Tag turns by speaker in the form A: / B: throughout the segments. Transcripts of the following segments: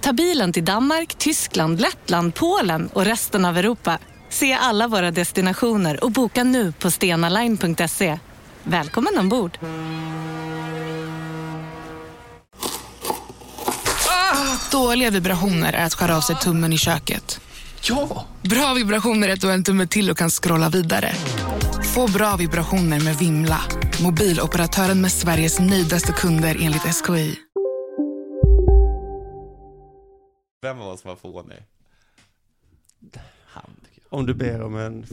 A: Ta bilen till Danmark, Tyskland, Lettland, Polen och resten av Europa. Se alla våra destinationer och boka nu på stenaline.se. Välkommen ombord!
B: Ah! Dåliga vibrationer är att skära av sig tummen i köket.
C: Ja!
B: Bra vibrationer är att du har en tumme till och kan scrolla vidare. Få bra vibrationer med Vimla. Mobiloperatören med Sveriges nöjdaste kunder enligt SKI.
C: Vem av oss var fånig? Han, tycker jag.
D: Om du ber om en f-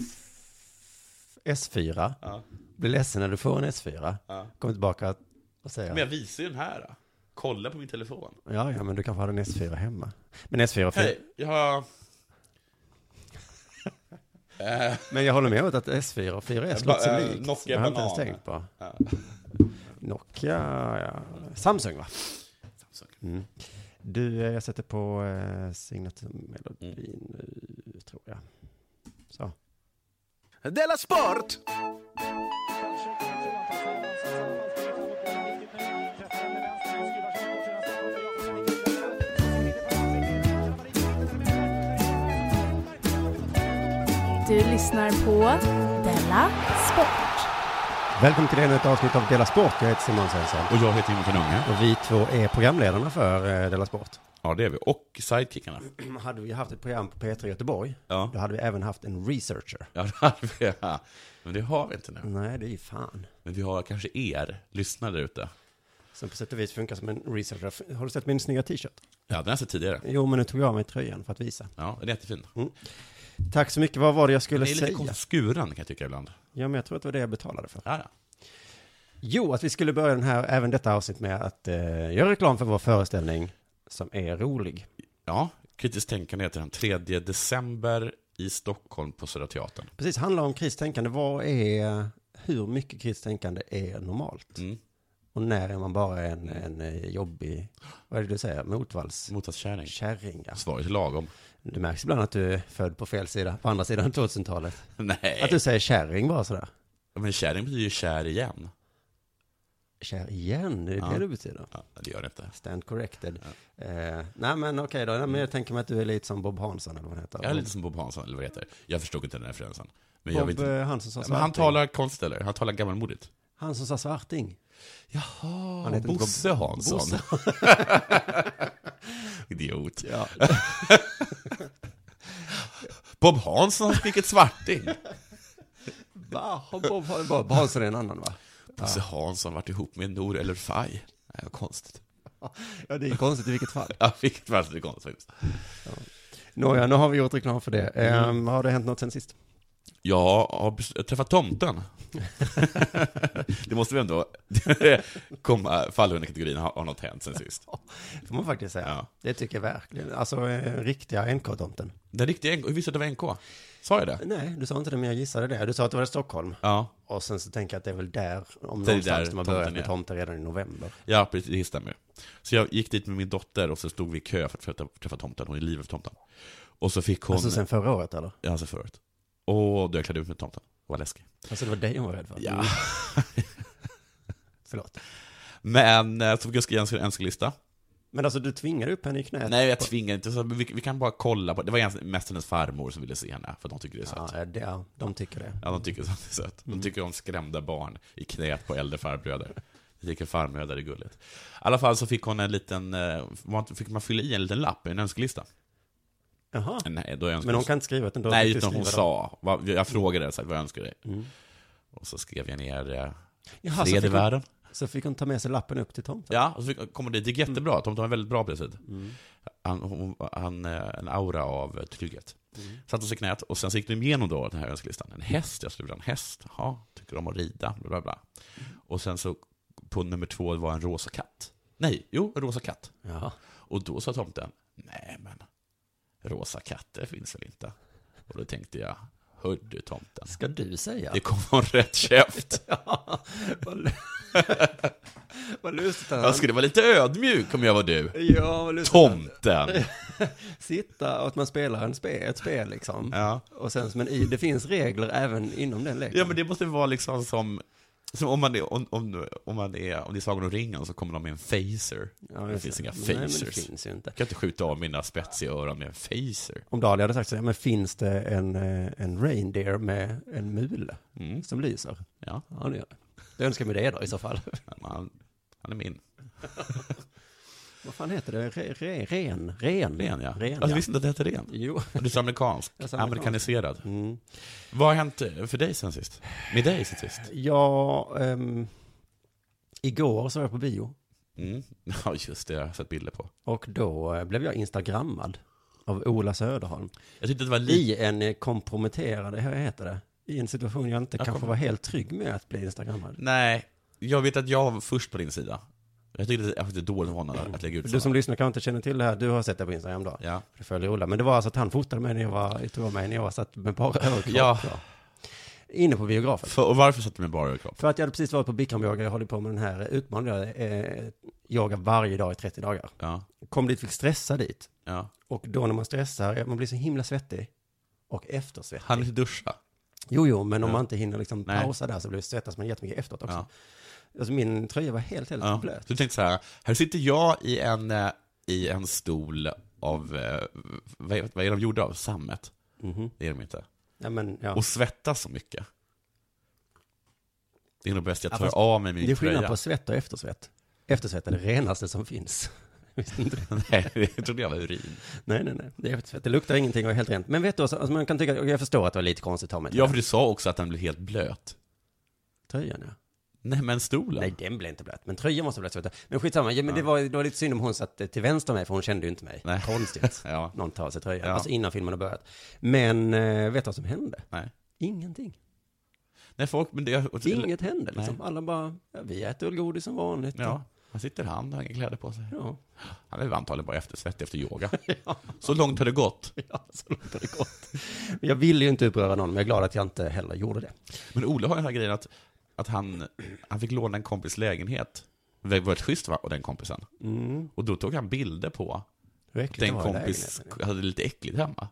D: S4,
C: Ja.
D: blir ledsen när du får en S4,
C: Ja.
D: kommer tillbaka och
C: Men jag
D: säger
C: visar ju den här. Då. Kolla på min telefon.
D: ja, ja, men du kanske har en S4 hemma. Men S4 fin.
C: Hej, jag har... Eh,
D: Men jag håller med om att S4 och 4S
C: Ba-
D: låter så
C: eh,
D: likt.
C: Nokia
D: jag har inte ens
C: banan.
D: tänkt på.
C: Ja.
D: Nokia, ja. Samsung va?
C: Samsung.
D: Mm. Du, eh, jag sätter på eh, signaturmelodin
C: Mm.
D: nu, tror jag. Så.
E: Della Sport!
F: Du lyssnar på Della Sport.
D: Välkommen till ännu ett avsnitt av Dela Sport. Jag heter Simon Svensson.
C: Och jag heter Jonathan Unge.
D: Och vi två är programledarna för eh, Dela Sport.
C: Ja, det är vi. Och sidekickarna.
D: Hade vi haft ett program på P3 Göteborg,
C: Ja.
D: då hade vi även haft en researcher.
C: Ja, det hade vi. Ja. Men det har vi inte nu.
D: Nej, det är ju fan.
C: Men vi har kanske er lyssnare där ute.
D: Som på sätt och vis funkar som en researcher. Har du sett min snygga t-shirt?
C: Ja, den har jag sett tidigare.
D: Jo, men nu tog jag av mig tröjan för att visa.
C: Ja, den är jättefin.
D: Tack så mycket. Vad var det jag
C: Den
D: skulle
C: är lite
D: säga?
C: konstigt skuren kan jag tycka ibland.
D: Ja, men jag tror att det var det jag betalade för.
C: Ja, ja.
D: Jo, att vi skulle börja den här, även detta avsnitt med att eh, göra reklam för vår föreställning som är rolig.
C: ja kritiskt tänkande heter den. 3 december i Stockholm på Södra Teatern.
D: Precis, handlar om kristänkande. Vad är, hur mycket kristänkande är normalt?
C: Mm.
D: Och när är man bara en, en eh, jobbig, vad är det du säger, motvallskärring?
C: Motsatskärring.
D: ja.
C: Svaret är lagom.
D: Det märks ibland att du är född på fel sida, på andra sidan 2000-talet.
C: Nej.
D: Att du säger kärring bara sådär.
C: Men kärring betyder ju kär igen.
D: Kär igen, det är
C: Ja.
D: det det betyder.
C: Ja, det gör det inte.
D: Stand corrected. Eh, nej men okej då, nej, men jag tänker mig att du är lite som Bob Hansson eller vad han heter.
C: Jag är lite som Bob Hansson, eller vad det heter. Jag förstod inte den här referensen. Men jag
D: Bob
C: vet inte.
D: eh, Hansson sa
C: Men
D: svarting.
C: han talar konst, eller? Han talar gammalmodigt.
D: Han som sa svarting.
C: Jaha,
D: heter inte Bob-
C: Bosse Hansson.
D: Ah, Bosse.
C: Idiot.
D: Ja.
C: Bob Hansson har skrikit svarting.
D: Va? Har Bob, har Bob Hansson är en annan va?
C: Bosse Hansson varit ihop med Nour eller Faj. Nej, vad konstigt.
D: Ja det är konstigt i vilket fall.
C: Ja, vilket väldigt konstigt faktiskt.
D: Nåja, nu har vi gjort reklam för det. Eh,
C: Mm.
D: Har det hänt något sen sist?
C: Jag har bes- jag har träffat tomten. det måste vi ändå komma, falla under kategorin, har, har något hänt sen sist?
D: Får man faktiskt säga.
C: Ja.
D: Det tycker jag verkligen. Alltså eh, riktiga NK-tomten.
C: Den riktiga NK, hur visste du att det var NK? Sa jag det?
D: Nej, du sa inte det men jag gissade det. Du sa att det var i Stockholm.
C: Ja,
D: Och sen så tänker jag att det är väl där, om
C: Det är
D: någonstans,
C: där
D: de har
C: tomten
D: börjat
C: är.
D: med tomter redan i november.
C: ja precis, det stämmer. Så jag gick dit med min dotter och så stod vi i kö för att träffa, träffa tomten, hon är livet för tomten. Och så fick hon,
D: Alltså sen förra året eller?
C: ja, alltså förut. Och då jag klädde ut mig till tomten, vad läskig.
D: Alltså det var dig hon var rädd för?
C: Ja.
D: Mm, Förlåt.
C: Men eh, så fick jag skriva en önskelista.
D: Men alltså du tvingade upp henne i knät?
C: Nej, jag tvingar inte, så vi, vi kan bara kolla på, det var egentligen mest hennes farmor som ville se henne, för de tycker det är
D: Ja, Mm.
C: sött.
D: ja, det, ja, de tycker det.
C: Ja, de tycker sånt är sött. De tycker om skrämda barn i knät på äldre farbröder. Jag tycker farmödrar är gulligt. I alla fall så fick hon en liten, eh, man- fick man fylla i en liten lapp, en önskelista.
D: Jaha.
C: Nej, då är jag
D: Men hon kan inte skriva utan då
C: Nej,
D: fick du
C: utan hon
D: skriva dem.
C: sa. Vad, jag frågade så här, vad jag önskar dig.
D: Mm.
C: Och så skrev jag ner eh,
D: Jaha, så
C: fred i
D: fick, hon,
C: världen.
D: så fick hon ta med sig lappen upp till tomten?
C: Ja, och så fick- kom hon dit. Det gick jättebra.
D: Mm.
C: Tomten var väldigt bra på det sättet. Han, hon, han, eh, en aura av trygghet.
D: Mm.
C: Satte oss i knät och sen så gick de igenom då den här önskelistan. En häst, jag skulle vilja ha en häst. Jaha, tycker om att rida, bla bla bla.
D: Mm.
C: Och sen så på nummer två var en rosa katt. Nej, jo, en rosa katt.
D: Jaha.
C: Och då sa tomten, nej men, rosa katter finns väl inte? Och då tänkte jag, hördu tomten.
G: Ska du säga?
C: Det kom från rätt käft.
G: Ja, vad lu- Vad lustigt
C: Jag
G: att
C: skulle vara lite ödmjuk om jag var du.
G: Ja, vad lustigt att
C: Tomten.
G: sitta och att man spelar en spe, ett spel liksom.
C: Ja.
G: Och sen, men i, det finns regler även inom den leken.
C: Ja, men det måste vara liksom som, som om, man är, om, om, om man är, om det är Sagan om ringen så kommer de med en phaser.
G: Ja,
C: det
G: just
C: finns inga
G: Nej, men det
C: phasers.
G: finns ju inte.
C: Jag kan inte skjuta av mina spetsiga öron med en phaser.
D: Om Dahlia hade sagt så här, men finns det en, eh, en reindeer med en mule
C: Mm.
D: som lyser?
C: Ja,
G: Ja, det gör det. Jag önskar mig det då i så fall.
C: men han, han är min.
G: Vad fan heter det? Re, re, ren? Ren?
C: Ren, ja.
G: Ren,
C: alltså,
G: ja.
C: Visste inte att det hette ren?
G: Jo.
C: Du är så amerikansk.
G: Jag är så amerikansk.
C: Amerikaniserad.
G: Mm.
C: Vad har hänt eh, för dig sen sist? Med dig sen sist?
D: Ja, ehm, igår så var jag på bio
C: Mm. Ja, just det. Jag har sett bilder på.
D: och då eh, blev jag instagrammad av Ola Söderholm.
C: Jag tyckte det var lite...
D: I en eh, komprometterande, hur heter det? I en situation jag inte
C: Jag
D: kanske
C: kommer-
D: var helt trygg med att bli instagrammad.
C: Nej, jag vet att jag var först på din sida. Jag tyckte det jag tyckte det är dåligt av honom att lägga ut
D: Du som
C: sådana.
D: lyssnar kanske inte känner till det här, du har sett det på Instagram då?
C: Ja.
D: Du följer Ola, men det var alltså att han fotade mig när jag var, tog mig när jag satt med bara överkropp.
C: Ja.
D: då. Inne på biografen.
C: För, och varför satte du med bara överkropp?
D: För att jag hade precis varit på Bikramyoga, jag håller på med den här utmaningen, eh, yoga varje dag i 30 dagar.
C: Ja,
D: Kom dit, fick stressa dit.
C: ja.
D: Och då när man stressar, man blir så himla svettig. Och eftersvettig.
C: Han inte duscha.
D: Jo, jo, men om
C: Ja.
D: man inte hinner liksom
C: Nej.
D: pausa där så blir svettas man jättemycket efteråt också.
C: Ja.
D: Alltså min tröja var helt, helt
C: Ja.
D: blöt.
C: Du tänkte så här, här sitter jag i en, eh, i en stol av, eh, vad är, vad är de gjorda av? Sammet?
D: Mhm.
C: Det är de inte.
D: Ja, men, ja.
C: Och svettas så mycket. Det är nog bäst jag
D: Ja,
C: tar
D: fast
C: av mig min
D: det är skillnad
C: tröja.
D: på svett och eftersvett. Eftersvett är det renaste som finns. Visste inte det?
C: Nej, det trodde jag var urin.
D: Nej, nej, nej. Det är eftersvett. Det luktar ingenting och är helt rent. Men vet du, alltså, alltså man kan tycka, jag förstår att det var lite konstigt av mig. till
C: Ja,
D: den
C: för du sa också att den blev helt blöt.
D: Tröjan, ja.
C: Nej, men stolen.
D: Nej, den blev inte blöt. Men tröjan måste ha blivit svettig. Men skitsamma, ja, men det, var, det var lite synd om hon satt eh, till vänster om mig, för hon kände ju inte mig.
C: Nej.
D: Konstigt.
C: Ja.
D: Någon tar av sig tröjan.
C: Ja.
D: Alltså innan filmen har börjat. Men eh, vet du vad som hände?
C: Nej.
D: Ingenting.
C: Nej, folk, men det... jag-
D: Inget hände liksom.
C: Nej.
D: Alla bara, ja, vi äter väl godis som vanligt.
C: Ja, här sitter han, han har inga kläder på sig.
D: Ja.
C: Han är antagligen bara eftersvettig efter yoga. Så långt har det gått.
D: ja, så låter det gott. Jag ville ju inte uppröra någon, men jag är glad att jag inte heller gjorde det.
C: Men Ola har den här grejen att, att han, han fick låna en kompis lägenhet. Det var ett schysst va, och den kompisen. Och då tog han bilder på
D: Hur äckligt Mm, det
C: den
D: var i
C: kompis
D: lägenheten.
C: hade lite äckligt hemma.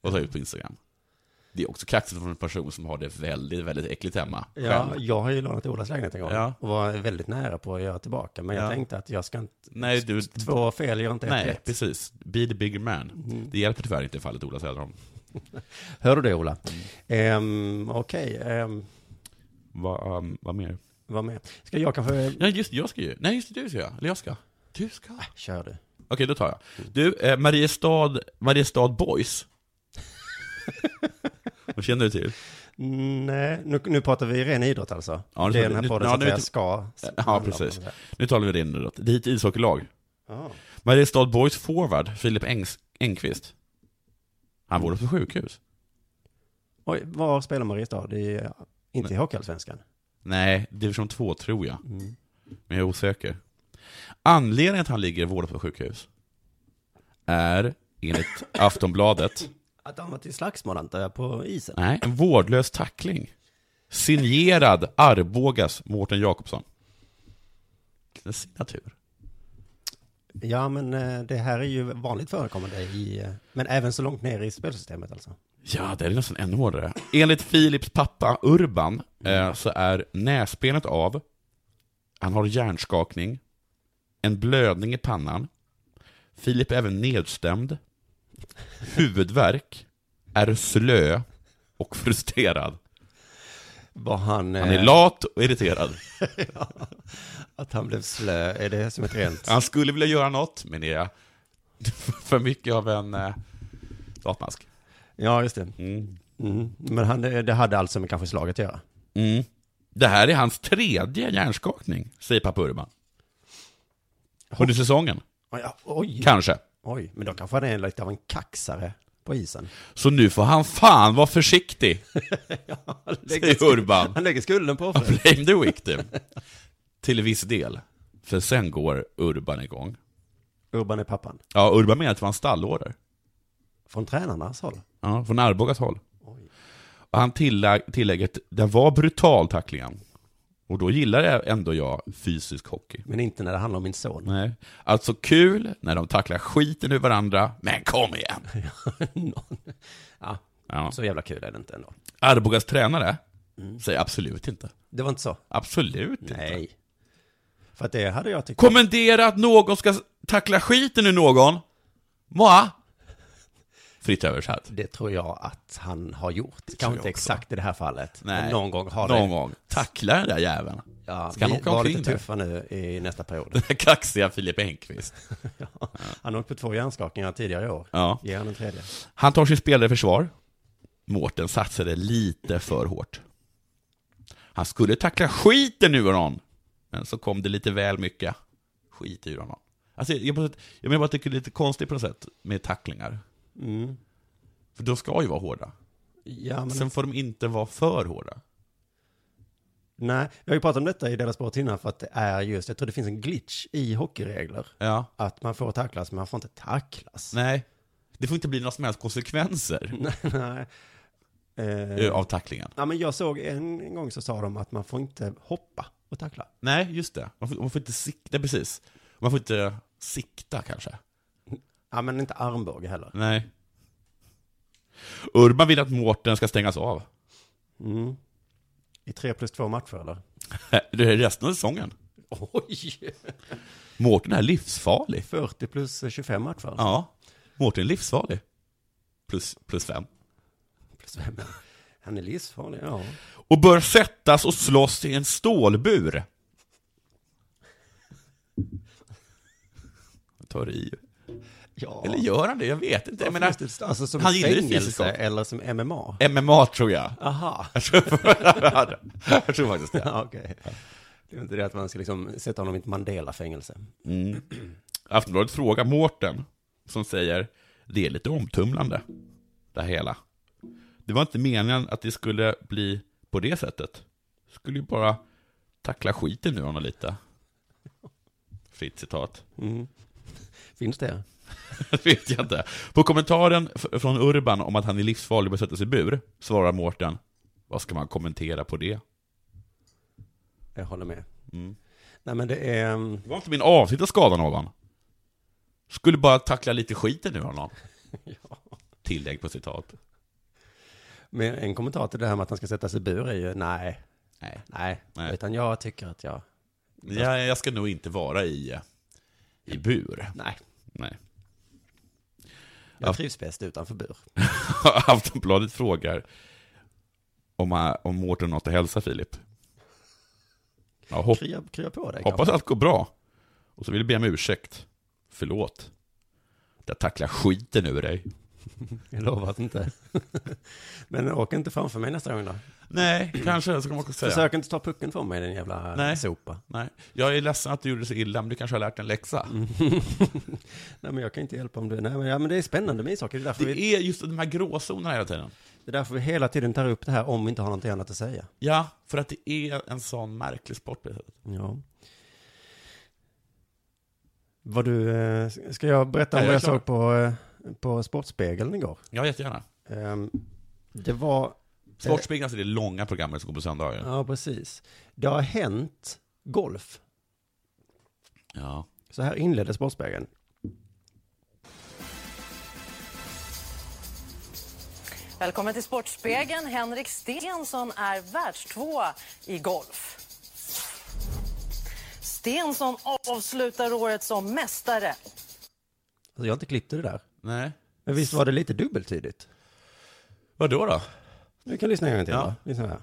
C: Och la ut på Instagram. Det är också kaxigt från en person som har det väldigt, väldigt äckligt hemma.
D: Ja,
C: själv.
D: jag har ju lånat Olas lägenhet en gång
C: Ja.
D: och var väldigt nära på att göra tillbaka. Men jag
C: Ja.
D: tänkte att jag ska inte,
C: Nej, du,
D: två fel gör inte ett
C: nej,
D: rätt. Mm.
C: precis. Be the bigger man. Det hjälper tyvärr inte i fallet Ola Söderholm.
D: Hör du det Ola? Ehm, Okej, ehm,
C: Vad, um, vad mer?
D: vad med? Ska jag kanske...
C: Ja, just det, jag ska ju. Nej, just det, du ska jag. Eller jag ska. Du ska.
D: Kör du.
C: Okej, då tar jag. Du, eh, Mariestad, Mariestad Boys. Vad känner du till?
D: Mm, Nej, nu, nu pratar vi ren idrott alltså.
C: Ja, nu
D: det är
C: pratar-
D: den här
C: nu-
D: podden
C: ja,
D: så att
C: nu-
D: jag ska...
C: Ja, precis. Nu talar vi det in Det är ett ishockeylag.
D: Ja.
C: Mariestad Boys forward, Filip Engs- Engqvist. Han vårdas på sjukhus.
D: Oj, var spelar Mariestad? Det är, inte i Hockeyallsvenskan.
C: Nej, division 2 tror jag.
D: Mm.
C: Men jag är osäker. Anledningen att han ligger vårdad på sjukhus är, enligt Aftonbladet,
D: Att de var till slagsmål antar jag, på isen.
C: nej, en vårdlös tackling. Signerad Arbogas Mårten Jakobsson. Vilken Signatur.
D: Ja, men eh, det här är ju vanligt förekommande i... eh, Men även så långt ner i spelsystemet alltså.
C: Ja, det är nästan ännu hårdare. Enligt Philips pappa Urban eh, så är näsbenet av, han har hjärnskakning, en blödning i pannan, Filip är även nedstämd, huvudvärk, är slö och frustrerad.
D: Var han...
C: Han är
D: eh,
C: lat och irriterad.
D: Att han blev slö, är det som ett rent...
C: Han skulle vilja göra något, men det är för mycket av en eh, latmask.
D: Ja, just det.
C: Mm.
D: Mm. Men han, det hade alltså med kanske slaget att göra.
C: Mm. Det här är hans tredje hjärnskakning, säger pappa Urban. Under säsongen,
D: Oj, ja, oj,
C: kanske.
D: oj, men då kanske han är lite av en kaxare på isen.
C: Så nu får han fan vara försiktig, säger Urban.
D: Han lägger skulden på offret.
C: Blame the victim. Till viss del. För sen går Urban igång.
D: Urban är pappan.
C: Ja, Urban menar att det var en stallorder.
D: Från tränarnas håll?
C: Ja, från Arbogas håll. Och han tillägg, tillägget, den var brutal tacklingen. Och då gillar jag ändå jag fysisk hockey.
D: Men inte när det handlar om min son.
C: Nej. Alltså kul när de tacklar skiten ur varandra, men kom igen!
D: Någon- ja,
C: Ja.
D: så jävla kul är det inte ändå.
C: Arbogas tränare
D: Mm.
C: säger absolut inte.
D: Det var inte så?
C: Absolut inte.
D: För att det hade jag tyckt...
C: Kommendera att någon ska tackla skiten ur någon. Moa! Fritt översatt.
D: Det tror jag att han har gjort. Kanske
C: jag
D: inte
C: också.
D: exakt i det här fallet. Men
C: Nej.
D: någon gång har
C: någon
D: det...
C: gång. Tackla den där jäveln.
D: Ja,
C: Ska han
D: vi
C: åka
D: var
C: omkring
D: lite
C: där?
D: tuffa nu i nästa period.
C: Den där kaxiga Filip Engqvist.
D: Han har åkt på två hjärnskakningar tidigare i år.
C: Ja.
D: Ge han en tredje.
C: Han tar sin spelare i försvar. Mårten satsade lite för hårt. Han skulle tackla skiten ur honom, men så kom det lite väl mycket skit ur honom. Alltså, jag, på något sätt- jag menar bara att det är lite konstigt på något sätt med tacklingar.
D: Mm.
C: För de ska ju vara hårda.
D: Ja, men...
C: Sen får de inte vara för hårda.
D: Nej, vi har ju pratat om detta i Dela Sport innan för att det är just, jag tror det finns en glitch i hockeyregler.
C: Ja.
D: Att man får tacklas, men man får inte tacklas.
C: Nej. Det får inte bli några som helst konsekvenser
D: Nej. Nej. Eh,
C: eh, av tacklingen.
D: Ja, men jag såg en, en gång så sa de att man får inte hoppa och tackla.
C: Nej, just det. Man får, man får inte sikta, precis. Man får inte sikta kanske.
D: Ja, men inte armbåge heller.
C: Nej. Urban vill att Mårten ska stängas av.
D: Mm. I tre plus två matcher eller?
C: Äh, Det är resten av säsongen.
D: Oj!
C: Mårten är livsfarlig.
D: 40 plus 25 matcher.
C: Ja, Mårten är livsfarlig. Plus, plus fem.
D: Plus fem. Han är livsfarlig, ja.
C: Och bör sättas och slåss i en stålbur. Jag tar i.
D: ja.
C: Eller gör han det? Jag vet inte. Jag
D: Varför
C: menar,
D: just det? alltså som
C: han
D: han
C: gillar ju fysisk
D: fängelse
C: hockey.
D: eller som MMA?
C: MMA tror jag.
D: Aha.
C: Jag tror, jag tror faktiskt det.
D: Ja, okej. Det är inte det att man ska liksom sätta honom i ett Mandela-fängelse.
C: Aftonbladet frågar Mårten, som säger det är lite omtumlande, det här hela. Det var inte meningen att det skulle bli på det sättet. Skulle ju bara tackla skiten nu honom lite. Fritt citat.
D: Finns det?
C: Det vet jag inte. På kommentaren f- från Urban om att han är livsfarlig och sätta sig i bur, svarar Mårten, vad ska man kommentera på det?
D: Jag håller med.
C: Mm.
D: Nej, men det är... um,
C: Det var inte min avsikt att skada någon. Skulle bara tackla lite skiten nu honom. Tillägg på citat.
D: Men en kommentar till det här med att han ska sätta sig i bur är ju nej,
C: Nej.
D: nej,
C: Nej.
D: Utan jag tycker att jag...
C: Jag, jag ska nog inte vara i, eh, i bur.
D: Nej,
C: Nej.
D: jag
C: Ja.
D: trivs bäst utanför bur.
C: Aftonbladet frågar om, han- om Mårten har något att hälsa Filip. Ja, hopp,
D: Krya, krya på dig.
C: hoppas allt går bra. Och så vill jag be om ursäkt. Förlåt. Jag tacklar skiten ur dig.
D: Jag lovar att inte. men åk inte framför mig nästa gång då.
C: Nej, kanske ska man säga.
D: Försök inte ta pucken från mig, den jävla
C: Nej.
D: sopa.
C: Nej, jag är ledsen att du gjorde så illa, men du kanske har lärt dig en läxa.
D: Nej, men jag kan inte hjälpa om du... Nej, men, ja, men det är spännande med ishockey. Det är, därför vi,
C: Det är just de här gråzonerna hela tiden.
D: det är därför vi hela tiden tar upp det här om vi inte har någonting annat att säga.
C: Ja, för att det är en sån märklig sport. på det sättet.
D: Ja. Vad du, eh, ska jag berätta om
C: Ja, jag
D: vad
C: är
D: jag
C: klar.
D: såg på, eh, på Sportspegeln igår?
C: Ja, jättegärna.
D: Ehm, Det var,
C: Sportspegeln, alltså det långa programmet som går på söndagar. Ja.
D: ja precis. Det har hänt golf. Så här inledde Sportspegeln. Alltså,
H: Välkommen till Sportspegeln. Henrik Stensson är världstvåa i golf. Stensson avslutar året som mästare.
D: Alltså, jag har inte klippt det där.
C: Nej.
D: Men visst var det lite dubbeltydigt?
C: Vad då? då?
D: Vi kan lyssna en gång till.
C: Ja.
D: Ja. Lyssna här.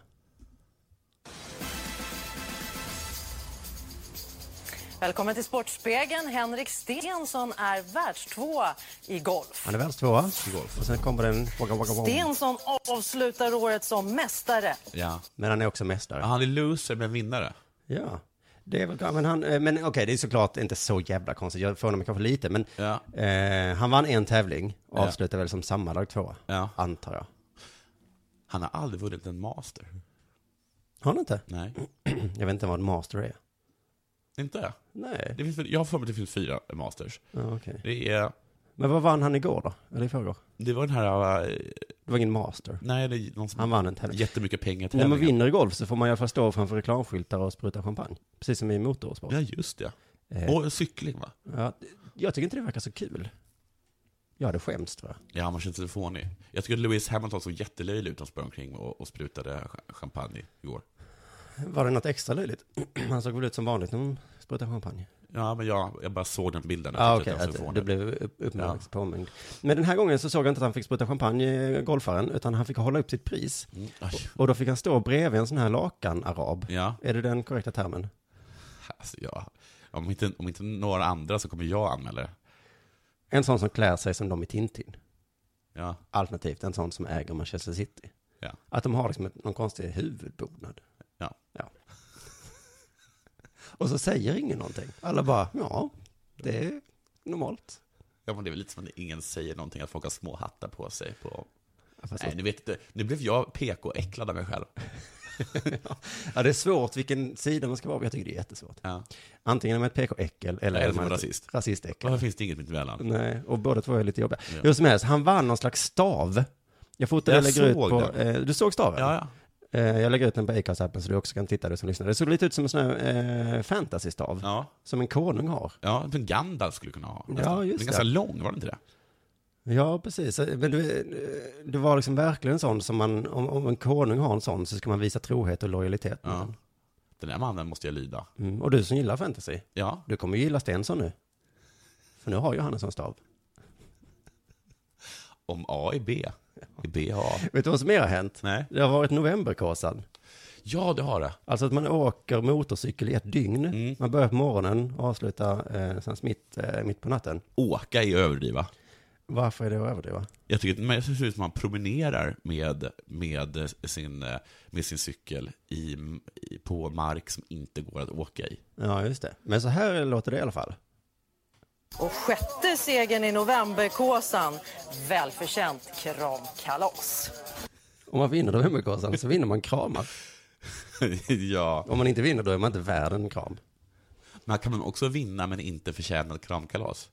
H: Välkommen till Sportspegeln. Henrik Stensson är världstvåa i golf.
D: Han är världstvåa i golf. Och sen kommer den... Waka, waka, waka.
H: Stensson avslutar året som mästare.
C: Ja.
D: Men han är också mästare.
C: Ja, Han är loser, men vinnare.
D: Ja. Det är väl klart, men han, eh, men okej, det är såklart inte så jävla konstigt. Jag förvånar mig kanske lite, men
C: Ja.
D: eh, han vann en tävling och
C: Ja.
D: avslutade väl som sammanlagt tvåa,
C: Ja.
D: antar jag.
C: Han har aldrig vunnit en master.
D: Har han inte?
C: Nej.
D: Jag vet inte vad en master är.
C: Inte?
D: Nej.
C: Det finns, väl- jag har för mig att det finns fyra masters.
D: Ja, okej.
C: Det är
D: Men vad vann han igår då? Eller i förrgår?
C: Det var den här, eh,
D: Det var ingen master.
C: nej, det är någon som
D: Han vann en tävling.
C: jättemycket pengar
D: När man vinner i golf så får man i alla fall stå framför reklamskyltar och spruta champagne. Precis som i motorsport.
C: Ja, just det.
D: Eh,
C: Och cykling, va?
D: ja, jag tycker inte det verkar så kul. Jag hade skämts tror jag.
C: Ja, man känns lite fånig. Jag tycker att Lewis Hamilton såg jättelöjlig ut. Han sprang omkring och, och sprutade cha- champagne igår.
D: Var det något extra löjligt? Han såg väl ut som vanligt när man sprutar champagne.
C: Ja, men jag, jag bara såg den bilden. Jag
D: Ja,
C: tyckte
D: Ah, okej.
C: att den var
D: att
C: så
D: det
C: fånig.
D: blev upp- uppmärksamhet påmind. Men den här gången så såg jag inte att han fick spruta champagne, eh, golfaren, utan han fick hålla upp sitt pris.
C: Mm, aj.
D: Och då fick han stå bredvid en sån här lakan-arab.
C: Ja,
D: Är det den korrekta termen?
C: alltså, ja. Om, inte, om inte några andra så kommer jag anmäla det.
D: En sån som klär sig som de i Tintin.
C: Ja.
D: Alternativt en sån som äger Manchester City.
C: Ja.
D: Att de har liksom ett, någon konstig huvudbonad.
C: Ja.
D: Och så säger ingen någonting. Alla bara, ja, det är normalt.
C: ja, men det är väl lite som att ingen säger någonting, att folk har små hattar på sig. På...
D: fast-
C: Nej, nu, vet du, nu blev jag PK-äcklad av mig själv.
D: Ja, det är svårt vilken sida man ska vara på. Jag tycker det är jättesvårt.
C: Ja.
D: Antingen är man ett PK-äckel eller,
C: Eller
D: är
C: så är
D: man
C: man
D: ett
C: rasist.
D: rasistäckel.
C: Varför finns det inget mittemellan?
D: Nej, och båda två är lite jobbiga. Hur som helst, han vann någon slags stav. Jag fotade
C: Jag
D: och lägger ut
C: såg
D: på...
C: den.
D: Eh, du såg staven?
C: Ja, ja.
D: Eh, jag lägger ut den på Acast-appen så du också kan titta du som lyssnar. Det såg lite ut som en sån här eh, fantasystav.
C: Ja,
D: Som en konung har.
C: ja som Gandalf skulle kunna ha. nästan.
D: Ja, just
C: den är
D: det.
C: ganska lång, var det inte det?
D: Ja, precis. Men det, det var liksom verkligen en sån som man, om, om en konung har en sån så ska man visa trohet och lojalitet med
C: Ja.
D: den.
C: Den där mannen måste jag lyda.
D: Mm. Och du som gillar fantasy,
C: Ja,
D: du kommer ju gilla Stensson nu. För nu har ju han en sån stav.
C: om A är B, är B A.
D: Vet du vad som mer har hänt?
C: Nej.
D: Det har varit novemberkåsan.
C: Ja, det har det.
D: Alltså att man åker motorcykel i ett dygn. Man börjar på morgonen och avslutar eh, sen mitt, eh, mitt på natten.
C: Åka är att överdriva.
D: Varför är det att överdriva?
C: Jag tycker men jag tycker det ser ut som att man promenerar med, med, sin, eh, med sin cykel i, i, på mark som inte går att åka i.
D: Ja, just det. Men så här låter det i alla fall.
H: Och sjätte segern i novemberkåsan. Välförtjänt kramkalas.
D: Om man vinner novemberkåsan så vinner man kramar.
C: ja,
D: Om man inte vinner då är man inte värd en kram.
C: men kan man också vinna men inte förtjäna ett kramkalas?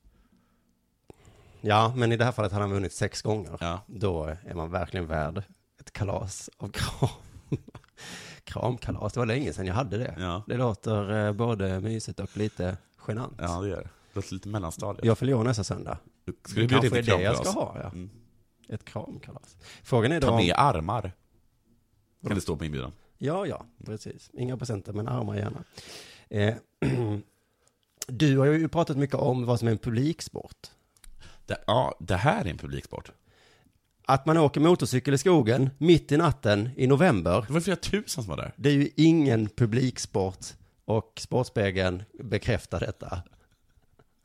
D: Ja, men i det här fallet hade han vunnit sex gånger.
C: Ja.
D: Då är man verkligen värd ett kalas av kram. Kramkalas, det var länge sedan jag hade det.
C: Ja.
D: Det låter eh, både mysigt och lite genant.
C: Ja, det gör det. Det låter lite mellanstadiet.
D: Jag fyller år nästa söndag.
C: Ska du bjuda in
D: Kanske är
C: till
D: det jag
C: kramkalas? Mm.
D: ska ha, ja. Ett kramkalas. Frågan är då
C: Ta med
D: om...
C: armar. Kan det stå på inbjudan?
D: Ja, ja, precis. Inga presenter, men armar gärna. Eh, du har ju pratat mycket om vad som är en publiksport.
C: Det, ja, det här är en publiksport.
D: Att man åker motorcykel i skogen mitt i natten i november
C: Det var flera tusen som var där.
D: Det är ju ingen publiksport och Sportspegeln bekräftar detta.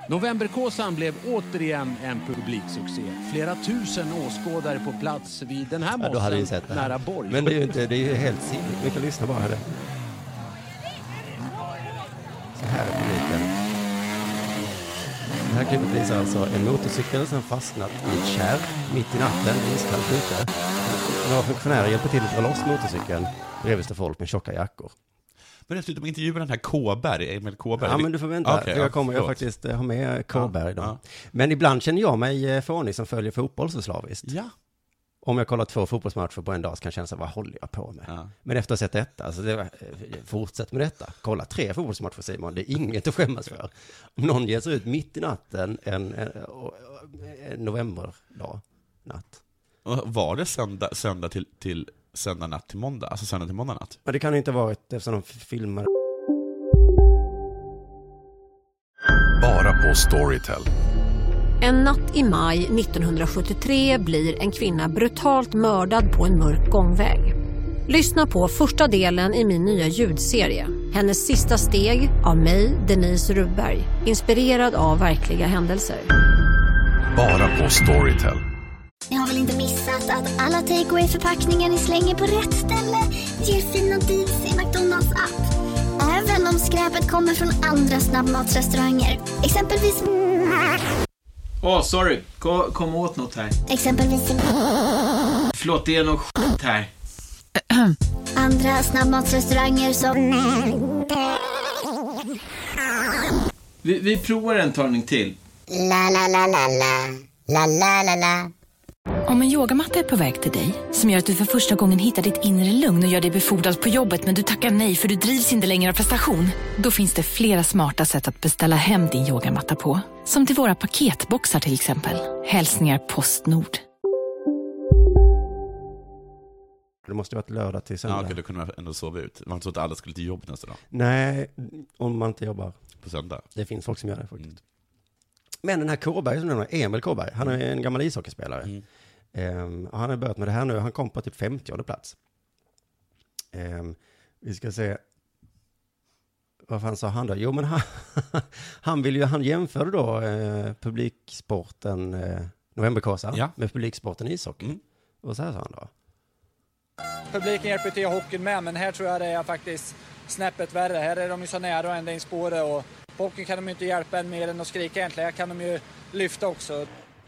I: Novemberkåsan blev återigen en publiksuccé. Flera tusen åskådare på plats vid den här
D: Ja, då hade vi
I: mossen
D: sett det.
I: nära Borg.
D: Men det är ju inte, det är ju helt sinnigt. Vi kan lyssna bara. Här. Så här är publiken. Det här klippet visar alltså en motorcykel som fastnat i ett kärr mitt i natten, iskallt ute. Några funktionärer hjälper till att dra loss motorcykeln. Bredvid står folk med tjocka jackor.
C: Men dessutom intervjuade den här Kåberg, Emil Kåberg.
D: Ja, men du får vänta.
C: Okej,
D: för
C: ja,
D: jag kommer jag
C: förlåt.
D: faktiskt eh, ha med Kåberg
C: Ja,
D: idag.
C: ja.
D: Men ibland känner jag mig eh, fånig som följer fotboll så slaviskt.
C: Ja.
D: Om jag kollar två fotbollsmatcher på en dag så kan jag känna så här, vad håller jag på med?
C: Ja.
D: Men efter att ha sett detta, alltså det var, eh, fortsätt med detta. Kolla tre fotbollsmatcher Simon, det är inget att skämmas för. Om någon ger sig ut mitt i natten en, en, eh, en novemberdag, natt.
C: Och Var det söndag, söndag, till, till, söndag natt till måndag? Alltså söndag till måndag natt?
D: Men det kan ju inte ha varit eftersom de filmade.
E: Bara på Storytel.
J: En natt i maj 1973 blir en kvinna brutalt mördad på en mörk gångväg. Lyssna på första delen i min nya ljudserie. Hennes sista steg av mig, Denise Rubberg. Inspirerad av verkliga händelser.
E: Bara på Storytel.
J: Ni har väl inte missat att alla takeaway förpackningar ni slänger på rätt ställe ger fina deals i McDonalds app. Även om skräpet kommer från andra snabbmatsrestauranger. Exempelvis...
I: Åh, sorry. Kom, åt något här.
J: Exempelvis...
I: Förlåt, det är något skit här.
J: Andra snabbmatsrestauranger som...
I: Vi, vi provar en talning till.
J: La, la, la, la, la.
K: La, la, la, la.
L: Om en yogamatta är på väg till dig, som gör att du för första gången hittar ditt inre lugn och gör dig befordrad på jobbet men du tackar nej för du drivs inte längre av prestation. Då finns det flera smarta sätt att beställa hem din yogamatta på. Som till våra paketboxar till exempel. Hälsningar Postnord.
D: Det måste ha varit lördag till
C: Ja,
D: söndag.
C: okej, då kunde man ändå sova ut. Det var inte så att alla skulle till jobbet nästa dag.
D: Nej, om man inte jobbar.
C: På söndag.
D: Det finns folk som gör det faktiskt. Men den här Kåberg som du nämner, Emil Kåberg, han är en gammal ishockeyspelare. Ehm, och han har börjat med det här nu, han kom på typ 50 plats. Ehm, vi ska se, vad fan sa han då? Jo men han, han, vill ju, han jämförde då eh, publiksporten eh, Novemberkåsan
C: Ja.
D: med publiksporten ishockey. Och så här sa han då.
M: Publiken hjälper till hockeyn med, men här tror jag det är faktiskt snäppet värre. Här är de ju så nära och ända in i spåret och på hockeyn kan de ju inte hjälpa en mer än att skrika egentligen. Här kan de ju lyfta också.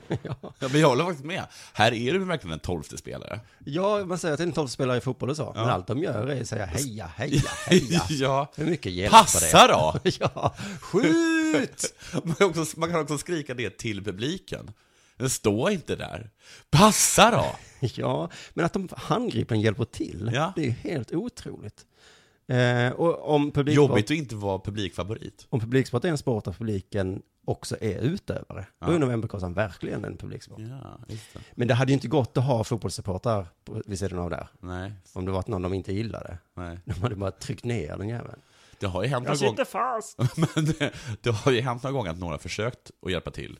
C: Ja, men jag håller faktiskt med. Här är du verkligen en tolfte spelare.
D: Ja, man säger att det är en tolvspelare i fotboll och så, men allt de gör är att säga heja, heja, heja.
C: ja.
D: Hur mycket hjälper
C: Passa
D: det?
C: då!
D: ja, skjut!
C: Man, kan också, man kan också skrika det till publiken. Men stå inte där. Passa då!
D: ja, men att de handgripligen hjälper till, det är ju helt otroligt. Eh, och om publiksport,
C: Jobbigt att inte vara publikfavorit.
D: om publiksport är en sport där publiken också är utövare, då
C: Ja.
D: är Novemberkåsan verkligen en publiksport.
C: Ja, just det.
D: Men det hade ju inte gått att ha fotbollssupportrar på- vid sidan av där.
C: Nej.
D: Om det var någon de inte gillade.
C: Nej.
D: De hade bara tryckt ner den jäveln.
C: Det har ju hänt
D: Jag
C: någon gång...
D: sitter fast.
C: Men det, det har ju hänt någon gång att några har försökt att hjälpa till.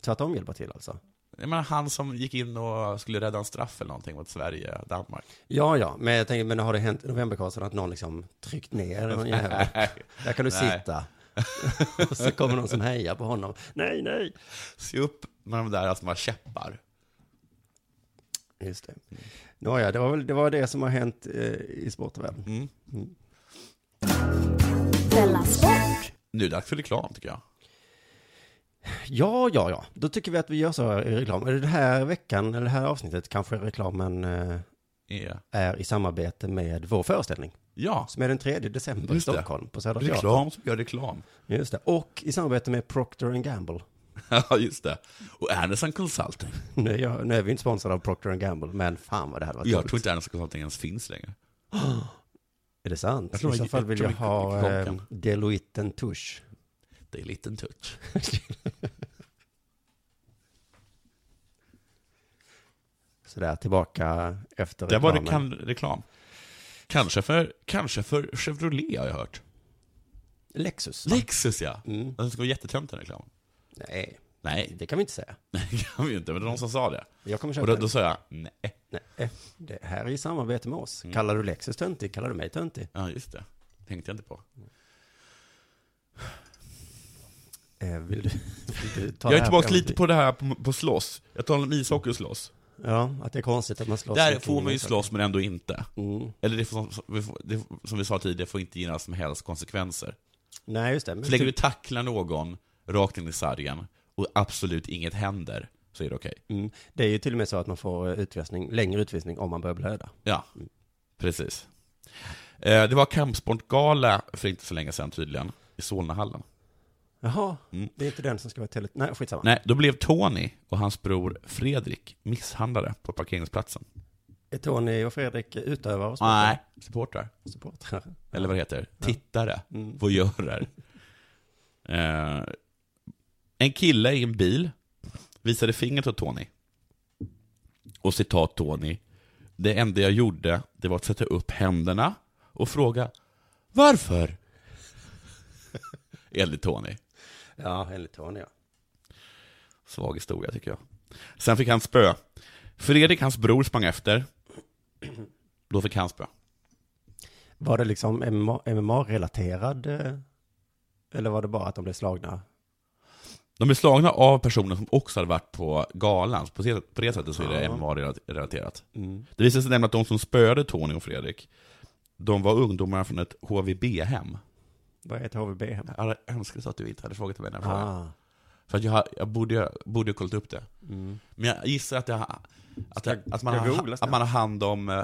D: Tvärtom hjälpa till alltså.
C: Jag menar, han som gick in och skulle rädda en straff eller någonting mot Sverige, Danmark.
D: Ja, ja, men jag tänker, men har det hänt i novemberkåsan att någon liksom tryckt ner någon jävel?
C: Nej.
D: Där kan du
C: Nej.
D: sitta. och så kommer någon som hejar på honom. Nej, nej.
C: Se upp med de där som har käppar.
D: Just det.
C: Mm.
D: Nåja, det var väl det, var det som har hänt eh, i sportvärlden. Mm.
C: Nu är det dags för reklam, tycker jag.
D: Ja, ja, ja. Då tycker vi att vi gör så i reklam. Eller Den här veckan, eller det här avsnittet, kanske reklamen eh,
C: Är-
D: är i samarbete med vår föreställning.
C: E, Ja.
D: Som är den 3 december i
C: Just det.
D: Stockholm, på Södra
C: Reklam som gör reklam.
D: Just det. Och i samarbete med Procter Gamble.
C: Ja, just det. Och Anderson Consulting.
D: Nu är, jag, nu är vi inte sponsrade av Procter Gamble, men fan vad det här var
C: Jag tror inte Anderson Consulting ens finns längre.
D: Är det sant?
C: Jag tror
D: I så
C: jag-
D: fall
C: jag
D: vill
C: tror
D: jag,
C: jag
D: ha
C: gick
D: eh,
C: klockan.
D: Deloitte en tusch.
C: Det är en liten touch.
D: Sådär, tillbaka efter
C: Där var det
D: reklamen.
C: kan reklam. Kanske för, kanske för Chevrolet har jag hört.
D: Lexus. va?
C: Lexus ja. Den ska vara jättetönt den reklamen.
D: Nej.
C: Nej.
D: Det kan vi inte säga.
C: Nej, det kan vi ju inte. Men det var någon som sa det.
D: Jag kommer köpa
C: Och då,
D: den.
C: då sa jag nej.
D: Nej, det här är i samarbete med oss. Kallar du Lexus töntig, kallar du mig töntig.
C: Ja, just det. Tänkte jag inte på.
D: Eh, vill du, vill du ta
C: jag
D: det
C: är
D: här
C: tillbaka
D: programmet?
C: lite på det här på, på slåss. Jag talar om ishockey och slåss.
D: Ja, att det är konstigt att man slåss.
C: Där
D: med
C: får man ju
D: kniv.
C: slåss men ändå inte.
D: Mm.
C: Eller det får, vi får- det, som vi sa tidigare, det får inte ge några som helst konsekvenser.
D: Nej, just det. Men
C: Så länge du
D: typ,
C: tacklar någon rakt in i sargen och absolut inget händer, så är det okej.
D: mm, det är ju till och med så att man får eh, utvisning, längre utvisning om man börjar blöda.
C: Ja, precis. Eh, Det var kampsportgala för inte så länge sedan tydligen, i Solnahallen.
D: Jaha, det är inte den som ska vara tele... Mm. Nej, skitsamma.
C: Nej, då blev Tony och hans bror Fredrik misshandlade på parkeringsplatsen.
D: Är Tony och Fredrik utövare och sportare?
C: Nej, supportrar.
D: Supportrar.
C: Eller vad det heter,
D: Ja.
C: tittare,
D: Mm.
C: voyeurer. Eh, en kille i en bil visade fingret åt Tony. Och citat Tony, det enda jag gjorde, det var att sätta upp händerna och fråga varför? Enligt Tony.
D: Ja, enligt Tony ja.
C: Svag historia tycker jag. Sen fick han spö. Fredrik, hans bror, sprang efter. Då fick han spö.
D: Var det liksom MMA MMA-relaterad? eh, Eller var det bara att de blev slagna?
C: De är slagna av personer som också hade varit på galan, så på det, på det sättet så är det MMA-relaterat.
D: Mm.
C: Det visade sig nämligen att de som spöade Tony och Fredrik, de var ungdomar från ett HVB-hem.
D: Vad är ett HVB-hem?
C: Jag hade önskat att du inte hade frågat mig den här frågan.
D: Ah.
C: För att jag, har- jag borde jag borde ha kollat upp det.
D: Mm.
C: Men jag gissar att, jag, har- att, jag, att, man,
D: ska jag
C: har,
D: googla
C: att man har hand om eh,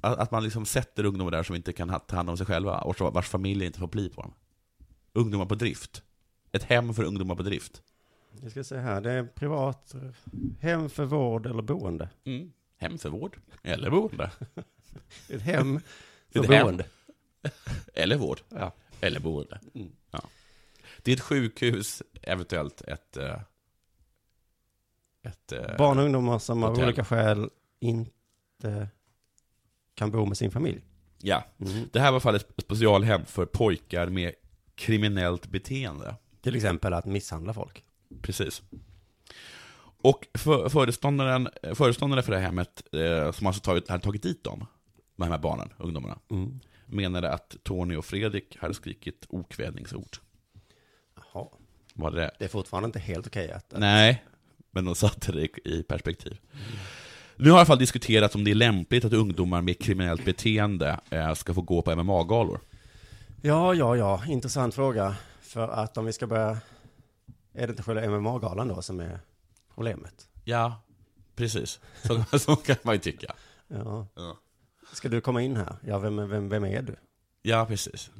C: att att man liksom sätter ungdomar där som inte kan ha- ta hand om sig själva och så- vars familj inte får bli på dem. Ungdomar på drift. Ett hem för ungdomar på drift.
D: Jag ska se här, det är privat eh, hem för vård eller boende.
C: Mm. Hem för vård eller boende.
D: Ett hem för
C: Ett hem.
D: boende.
C: Eller vård. Eller boende.
D: Mm.
C: Ja. Det är ett sjukhus, eventuellt ett... eh, ett eh,
D: Barn och ungdomar som av
C: hotell.
D: olika skäl inte kan bo med sin familj.
C: Ja. Det här var i alla fall ett specialhem för pojkar med kriminellt beteende.
D: Till exempel att misshandla folk.
C: Precis. Och för, föreståndaren, föreståndaren för det här hemmet, eh, som alltså tagit, hade tagit dit dem, de här barnen, ungdomarna,
D: Mm.
C: menade att Tony och Fredrik hade skrikit okvädningsord.
D: Jaha.
C: Var det
D: Det är fortfarande inte helt okej att... att-
C: Nej, men de satte det i- i perspektiv. Nu har i alla fall diskuterats om det är lämpligt att ungdomar med kriminellt beteende eh, ska få gå på MMA-galor.
D: Ja, ja, ja. Intressant fråga. För att om vi ska börja... Är det inte själva MMA-galan då som är problemet?
C: Ja, precis. Så, så kan man ju tycka.
D: Ja.
C: Ja.
D: Ska du komma in här? Ja, vem, vem, vem är du?
C: Ja, precis.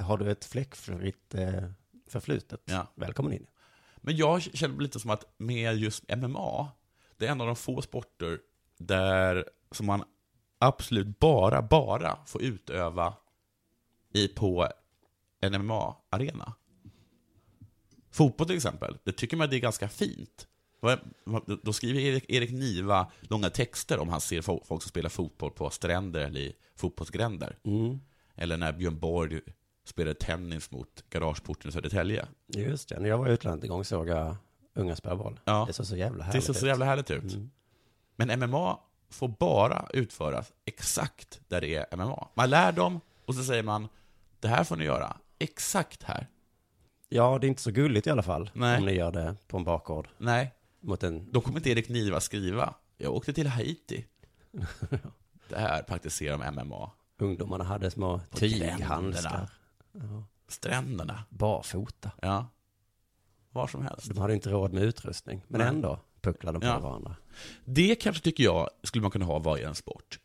D: Har du ett fläckfritt eh, förflutet?
C: Ja.
D: Välkommen in.
C: Men jag känner lite som att med just MMA, det är en av de få sporter där som man absolut bara, bara får utöva i på en MMA-arena. Fotboll till exempel, det tycker man det är ganska fint. Då skriver Erik, Erik Niva långa texter om han ser fo- folk som spelar fotboll på stränder eller i fotbollsgränder.
D: Mm.
C: Eller när Björn Borg spelade tennis mot garageporten i Södertälje.
D: Just det, när jag var i utlandet en gång såg jag unga spela boll.
C: Ja.
D: Det såg så jävla
C: Det
D: härligt
C: ser så jävla härligt ut. Men MMA får bara utföras exakt där det är MMA. Man lär dem och så säger man det här får ni göra exakt här.
D: Ja, det är inte så gulligt i alla fall.
C: Nej.
D: Om ni gör det på en bakgård.
C: Nej,
D: Mot en...
C: då kommer inte Erik Niva skriva. Jag åkte till Haiti. det här praktiserar de MMA.
D: Ungdomarna hade små
C: På
D: tyghandskar.
C: gränderna.
D: Ja.
C: Stränderna.
D: Barfota.
C: Ja. Var som helst.
D: De hade inte råd med utrustning. Men
C: Nej.
D: ändå pucklade de på
C: Ja.
D: varandra.
C: Det kanske tycker jag skulle man kunna ha varje en sport.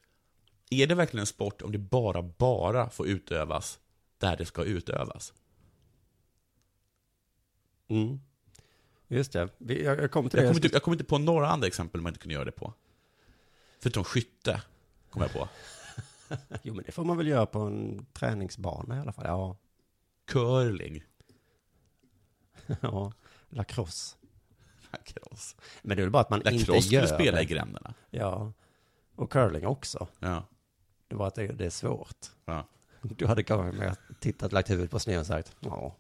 C: Är det verkligen en sport om det bara, bara får utövas där det ska utövas?
D: Mm. Just det. Vi- Jag, jag kom till
C: Jag
D: det.
C: kommer, inte, jag kommer inte på några andra exempel man inte kunde göra det på. Förutom skytte, kom jag på.
D: Jo, men det får man väl göra på en träningsbana i alla fall. Ja.
C: Curling.
D: ja. Lacrosse.
C: Lacrosse.
D: Men det är väl bara att man
C: Lacrosse
D: inte
C: skulle
D: gör
C: du spela
D: det.
C: i gränderna.
D: Ja. Och curling också.
C: Ja.
D: Det var att det, det är svårt.
C: Ja.
D: Du hade kanske mer tittat, lagt huvudet på sned och sagt ja.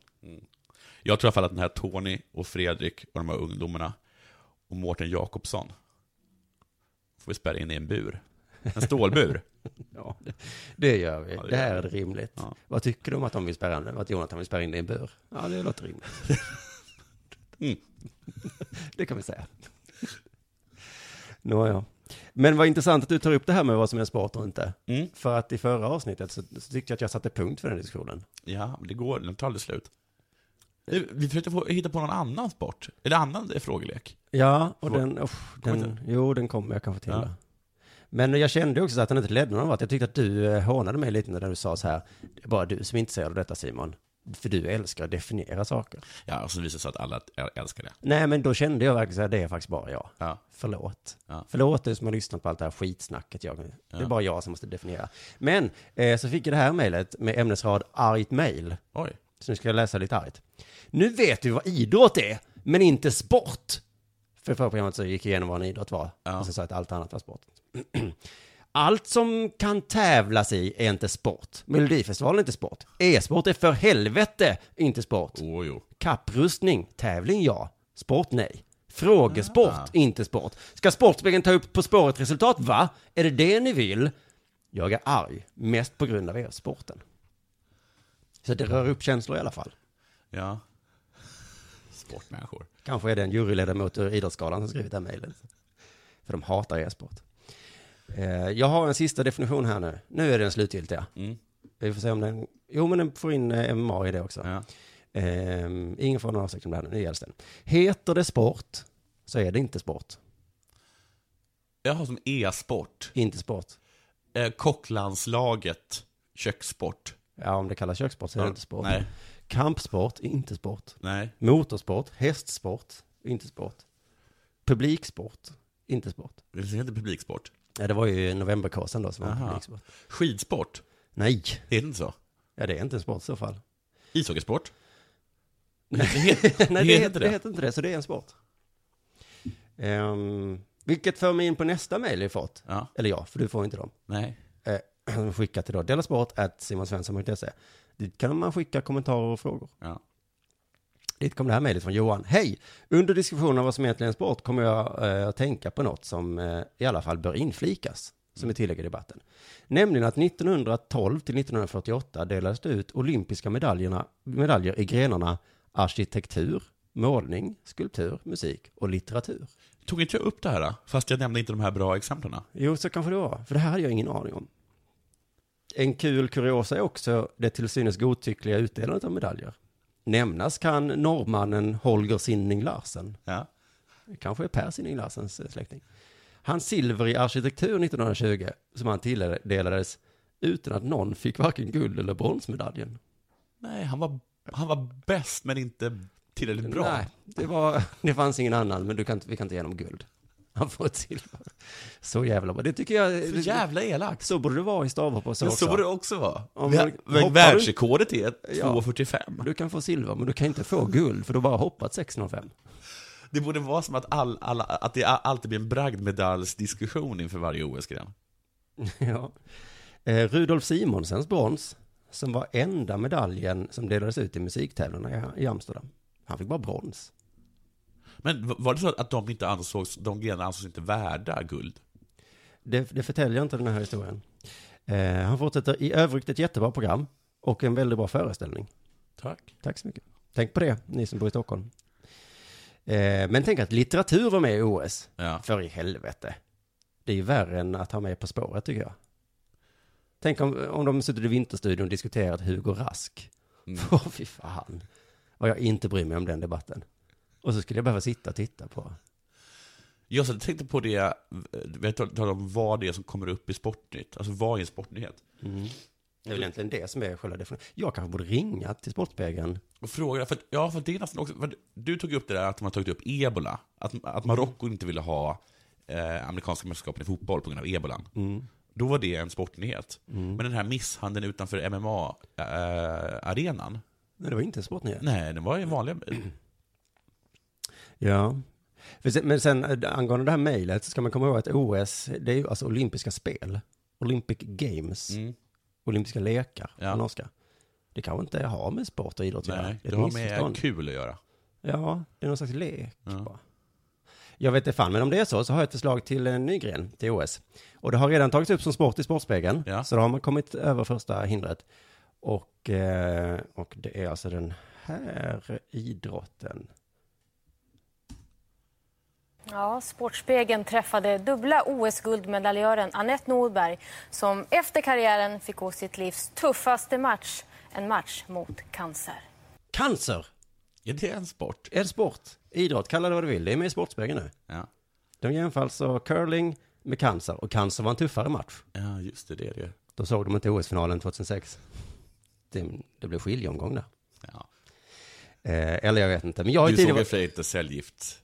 C: Jag tror i alla fall att den här Tony och Fredrik och de här ungdomarna och Mårten Jakobsson får vi spärra in i en bur. En stålbur.
D: ja det, det gör vi.
C: Ja, det
D: det, här
C: gör
D: är
C: vi.
D: rimligt.
C: Ja.
D: Vad tycker du om att de vill spärra in, att Jonathan vill spärra in dig i en bur? Ja, det låter rimligt.
C: Mm.
D: det kan vi säga. Nåja. Men vad intressant att du tar upp det här med vad som är sport och inte.
C: Mm.
D: För att i förra avsnittet så, så tyckte jag att jag satte punkt för den diskussionen.
C: Ja, men det går, den tar aldrig slut. Nu, Vi försökte få, hitta på någon annan sport, eller annan frågelek.
D: Ja, och
C: Vad-
D: den, usch,
C: kommer
D: den, jo den kommer jag kanske till.
C: Ja.
D: det. Men jag kände också så att den inte ledde någon vart. Jag tyckte att du eh, hånade mig lite när du sa så här, det är bara du som är intresserad av detta Simon. För du älskar att definiera saker.
C: Ja, och så visade det sig att alla älskar det.
D: Nej, men då kände jag verkligen så här, det är faktiskt bara jag.
C: Ja.
D: Förlåt.
C: Ja.
D: Förlåt du som har lyssnat på allt det här skitsnacket. Jag, Det är
C: Ja.
D: bara jag som måste definiera. Men eh, så fick jag det här mejlet med ämnesrad argt mejl.
C: Oj.
D: Så nu ska jag läsa lite argt. Nu vet du vad idrott är, men inte sport. För förra programmet så gick jag igenom vad en idrott var.
C: Ja.
D: Och sen sa jag att allt annat var sport. Allt som kan tävlas i är inte sport. Melodifestivalen är inte sport. E-sport är för helvete inte sport.
C: Åh, Oh, jo.
D: Kapprustning, tävling ja. Sport nej. Frågesport, inte sport. Ska Sportspegeln ta upp På spåret-resultat, va? Är det det ni vill? Jag är arg, mest på grund av e-sporten. Så det rör upp känslor i alla fall.
C: Ja. Sportmänniskor.
D: Kanske är det en juryledamot ur Idrottsgalan som skrivit det här mejlet. För de hatar e-sport. Eh, Jag har en sista definition här nu. Nu är den slutgiltiga.
C: Mm.
D: Vi får se om den... Jo, men den får in eh, MMA i det också.
C: Ja.
D: Ehm, ingen får någon åsikt om det här nu. Nu gälls den. Heter det sport så är det inte sport.
C: Jag har som e-sport.
D: Inte sport.
C: Eh, kocklandslaget. Kökssport.
D: Ja, om det kallas kökssport så är det
C: Ja,
D: inte sport.
C: nej.
D: Kampsport, inte sport.
C: Nej.
D: Motorsport, hästsport, inte sport. Publiksport, inte sport.
C: Det heter publiksport.
D: Ja, det var ju novemberkåsan då som var
C: Aha.
D: publiksport.
C: Skidsport?
D: Nej.
C: Är det inte så?
D: Ja, det är inte en sport i så fall.
C: Ishockeysport?
D: Nej, Nej det, heter, det heter inte det, så det är en sport. Ehm, vilket för mig in på nästa mejl vi fått. Eller ja, för du får inte dem.
C: Nej.
D: Eh, skicka till då, delasport.simonsvensson.se. Dit kan man skicka kommentarer och frågor.
C: Ja.
D: Dit kom det här mejlet från Johan. Hej! Under diskussionen om vad som egentligen är sport kommer jag eh, att tänka på något som eh, i alla fall bör inflikas, som är tillägg i debatten. Nämligen att 1912 till 1948 delades det ut olympiska medaljerna, medaljer i grenarna arkitektur, målning, skulptur, musik och litteratur.
C: Tog inte jag upp det här, då? fast jag nämnde inte de här bra exemplen?
D: Jo, så kanske det var, för det här hade jag ingen aning om. En kul kuriosa är också det till synes godtyckliga utdelandet av medaljer. Nämnas kan norrmannen Holger Sinning Larsen.
C: Ja.
D: Kanske är Per Sinning Larsens eh, släkting. Hans silver i arkitektur 1920, som han tilldelades utan att någon fick varken guld eller bronsmedaljen.
C: Nej, han var, han var bäst men inte tillräckligt bra.
D: Nej, det, var, det fanns ingen annan, men du kan, inte- vi kan inte ge honom guld. Han får ett silver. Så jävla bra. Det tycker jag...
C: Så jävla elakt.
D: Så borde det vara i stavhopp och så
C: Men
D: också.
C: så borde det också vara.
D: Om
C: Vi-
D: man
C: men
D: hoppar
C: världsrekordet
D: ut-
C: är 2,45.
D: Du kan få silver, men du kan inte få guld, för du har bara hoppat 6,05.
C: Det borde vara som att, all, alla- att det alltid blir en bragdmedaljsdiskussion inför varje OS-gren.
D: ja. Eh, Rudolf Simonsens brons, som var enda medaljen som delades ut i musiktävlingarna i- i Amsterdam. Han fick bara brons.
C: Men v- var det så att de inte ansågs, de grenarna ansågs inte värda guld?
D: Det, det förtäljer inte den här historien. Eh, han fortsätter i övrigt ett jättebra program och en väldigt bra föreställning.
C: Tack.
D: Tack så mycket. Tänk på det, ni som bor i Stockholm. Eh, men tänk att litteratur var med i OS. För i helvete. Det är ju värre än att ha med På spåret tycker jag. Tänk om, om de suttit i Vinterstudion och diskuterat Hugo Rask. Åh fy fan. Vad jag inte bryr mig om den debatten. Och så skulle jag behöva sitta och titta på.
C: Jag så tänkte på det, eh, vi har talat om vad det är som kommer upp i Sportnytt, alltså vad är en sportnyhet?
D: Det är väl egentligen det som är själva definitionen. Jag kanske borde ringa till Sportspegeln.
C: Och fråga, för, att- ja, för det är nästan också, för att du tog upp det där att de har tagit upp ebola, att, att Marocko inte ville ha eh, amerikanska mästerskapen i fotboll på grund av ebolan.
D: Mm.
C: Då var det en sportnyhet. Men den här misshandeln utanför eh, MMA-arenan,
D: Nej, det var inte en sportnyhet.
C: nej, den var ju vanliga...
D: Ja. För sen- Men sen eh, angående det här mejlet så ska man komma ihåg att OS, det är ju alltså olympiska spel. Olympic Games.
C: Mm.
D: Olympiska lekar på norska. Det kanske inte har med sport och idrott att göra.
C: Nej,
D: är ett
C: det har
D: missförstånd.
C: med kul att göra.
D: Ja, det är någon slags lek bara. Jag vet inte fan, men om det är så så har jag ett förslag till en ny gren till OS. Och det har redan tagits upp som sport i Sportspegeln. Så då har man kommit över första hindret. Och, eh, och det är alltså den här idrotten.
K: Ja, Sportspegeln träffade dubbla OS-guldmedaljören Anette Norberg som efter karriären fick gå sitt livs tuffaste match, en match mot cancer.
D: Cancer!
C: Är det en sport?
D: Är det sport? Idrott, kalla det vad du vill. Det är med i Sportspegeln nu.
C: Ja.
D: De jämför alltså curling med cancer. Och cancer var en tuffare match.
C: Ja, just det, det är det ju.
D: Då såg de inte OS-finalen 2006. Det, det blev skiljeomgång där.
C: Ja.
D: Eh, eller jag vet inte. Men jag har ju
C: du såg
D: tidigare...
C: ju för inte cellgift.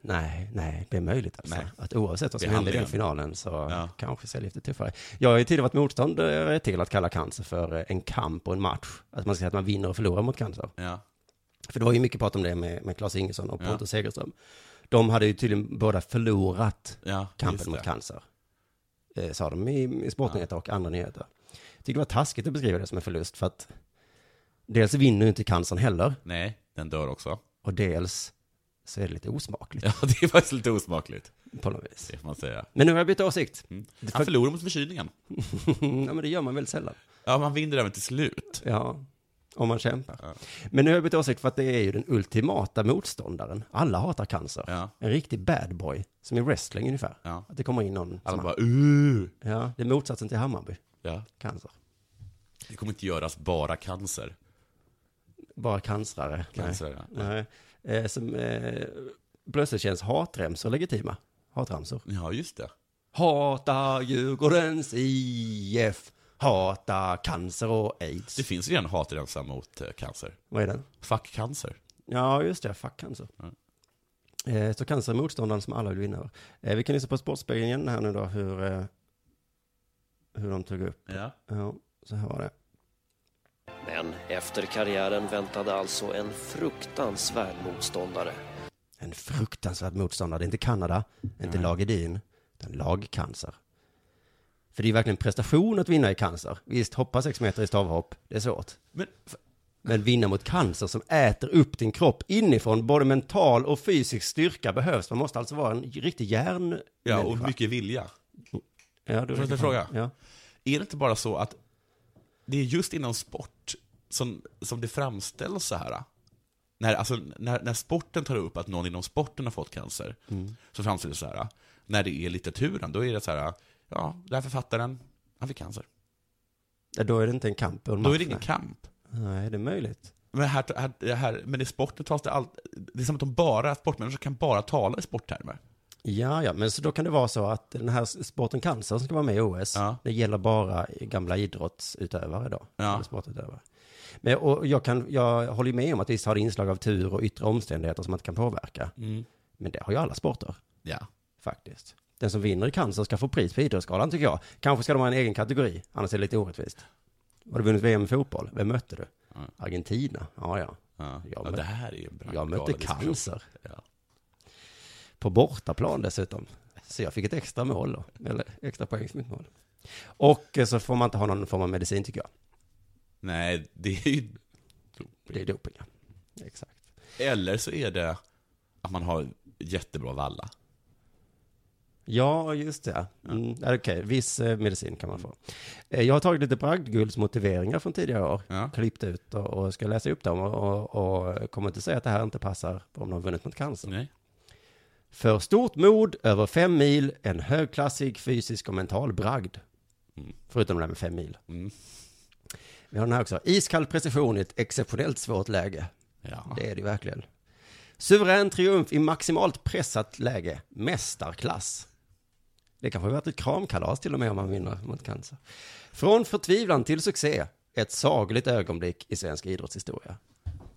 D: Nej, nej, det är möjligt alltså.
C: Nej.
D: Att oavsett vad som
C: Det
D: händer i den
C: handlar ju om-
D: finalen så kanske ser lite tuffare. Jag har ju tidigare varit motståndare till att kalla cancer för en kamp och en match. Att man säger att man vinner och förlorar mot cancer.
C: Ja.
D: För det var ju mycket prat om det med, med Claes Ingesson och
C: Ja.
D: Pontus Segerström. De hade ju tydligen båda förlorat
C: Ja, just
D: kampen
C: det.
D: mot cancer. Eh, sa de i, i sportnyheter och andra nyheter. Jag tycker det var taskigt att beskriva det som en förlust för att dels vinner ju inte cancern heller
C: Nej, den dör också.
D: och dels så är det lite osmakligt.
C: Ja, det är faktiskt lite osmakligt.
D: På något vis.
C: Det får man säga.
D: Men nu har jag bytt åsikt.
C: Han förlorar mot förkylningen.
D: ja, men det gör man väldigt sällan.
C: Ja, man vinner även till slut.
D: Ja, om man kämpar. Men nu har jag bytt åsikt för att det är ju den ultimata motståndaren. Alla hatar cancer. En riktig bad boy, som i wrestling ungefär. Att det kommer in någon
C: Alla
D: som
C: Alltså bara,
D: uh. Ja, det är motsatsen till Hammarby.
C: Ja.
D: Cancer.
C: Det kommer inte göras bara cancer.
D: Bara cancerare.
C: Cancerare,
D: Nej. Nej. Eh, som eh, plötsligt känns hatremsor legitima. Hatramsor.
C: Ja, just det.
D: Hata Djurgårdens IF. Hata cancer och aids.
C: Det finns redan hatremsa mot eh, cancer.
D: Vad är den?
C: Fuck cancer.
D: Ja, just det. Fuck cancer. Eh, så cancer är motståndaren som alla vill vinna över. Eh, vi kan lyssna på Sportspegeln igen här nu då, hur, eh, hur de tog upp.
C: Ja.
D: så här var det.
N: Men efter karriären väntade alltså en fruktansvärd motståndare.
D: En fruktansvärd motståndare, det är inte Kanada, inte lag Edin, utan lagcancer. För det är ju verkligen en prestation att vinna i cancer. Visst, hoppa sex meter i stavhopp, det är svårt.
C: Men,
D: Men vinna mot cancer som äter upp din kropp inifrån, både mental och fysisk styrka behövs. Man måste alltså vara en riktig hjärn...
C: ja, och mycket vilja.
D: Ja,
C: du
D: du-
C: Får jag ställa en fråga?
D: Ja.
C: Är det inte bara så att det är just inom sport som, som det framställs så här? När, alltså, när, när sporten tar upp att någon inom sporten har fått cancer,
D: Mm.
C: så framställs det så här. När det är litteraturen, då är det så här, ja, den här författaren, han fick cancer.
D: Ja, då är det inte en kamp. och en
C: Då är
D: match,
C: det ingen
D: nej.
C: kamp.
D: Nej, det är möjligt.
C: Men, här, här, det här, men i sporten tas det allt, det är som att de bara, sportmänniskor kan bara tala i sporttermer.
D: Ja, ja, men så då kan det vara så att den här sporten cancer som ska vara med i OS, det gäller bara gamla idrottsutövare då. eller Sportutövare. Men, och jag, kan, jag håller ju med om att visst har det inslag av tur och yttre omständigheter som man inte kan påverka.
C: Mm.
D: Men det har ju alla sporter,
C: Ja.
D: faktiskt. Den som vinner i cancer ska få pris på Idrottsgalan, tycker jag. Kanske ska de ha en egen kategori, annars är det lite orättvist. Har du vunnit VM i fotboll? Vem mötte du? Argentina? Ja, ja. Jag,
C: Ja,
D: mö-
C: det här är ju en bra-
D: jag mötte
C: galen diskussion.
D: cancer.
C: Ja.
D: På bortaplan dessutom. Så jag fick ett extra mål då. Eller extra poäng som mitt mål. Och eh, så får man inte ha någon form av medicin tycker jag.
C: Nej, det är ju
D: Det är doping, ja. Exakt.
C: Eller så är det att man har jättebra valla.
D: Ja, just det. Mm, ja, Okej, viss eh, medicin kan man få. Eh, Jag har tagit lite bragdgulds motiveringar från tidigare år. Klippt ut och, och ska läsa upp dem. Och, och, och kommer inte säga att det här inte passar om de har vunnit mot cancer. För stort mod, över fem mil, en högklassig fysisk och mental bragd. Mm. Förutom det där med fem mil. Vi har den här också. Iskall precision i ett exceptionellt svårt läge. Det är det ju verkligen. Suverän triumf i maximalt pressat läge. Mästarklass. Det kanske har varit ett kramkalas till och med om man vinner mot cancer. Från förtvivlan till succé. Ett sagligt ögonblick i svensk idrottshistoria.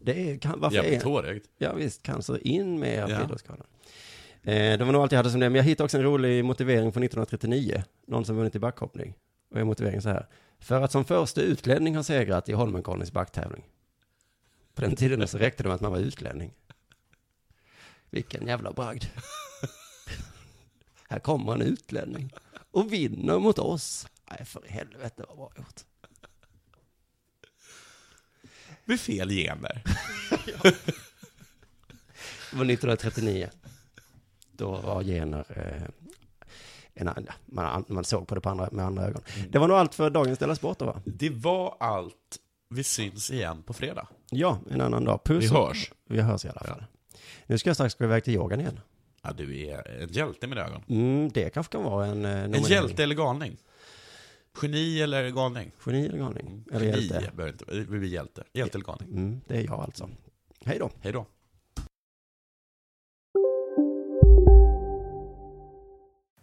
D: Det är, kan, varför
C: Jävligt
D: är...
C: hårigt.
D: Ja visst, cancer in med
C: Ja.
D: ja. Eh, det var nog allt jag hade som det, men jag hittade också en rolig motivering från 1939. Någon som vunnit i backhoppning. Och är motiveringen så här. För att som första utlänning har segrat i Holmenkollens backtävling. På den tiden så räckte det med att man var utlänning. Vilken jävla bragd. Här kommer en utlänning och vinner mot oss. Nej, för i helvete vad bra gjort.
C: Med fel gener.
D: Det var 1939. Då var gener... Eh, en, annan- man, man såg på det på andra, med andra ögon.
C: Mm.
D: Det var nog allt för dagens Della Sport då, va?
C: Det var allt. Vi syns igen på fredag.
D: Ja, en annan dag. Puss.
C: Vi hörs.
D: Vi hörs i alla fall. Nu ska jag strax gå iväg till yogan igen.
C: Ja, du är en hjälte i mina ögon.
D: Mm, det kanske kan vara en... eh,
C: En
D: nominering.
C: hjälte eller galning? Geni eller galning?
D: Geni eller galning? Eller
C: Geni
D: hjälte.
C: behöver inte, vi blir hjälte. Hjälte eller galning.
D: Mm, det är jag alltså. Hej då.
C: Hej då.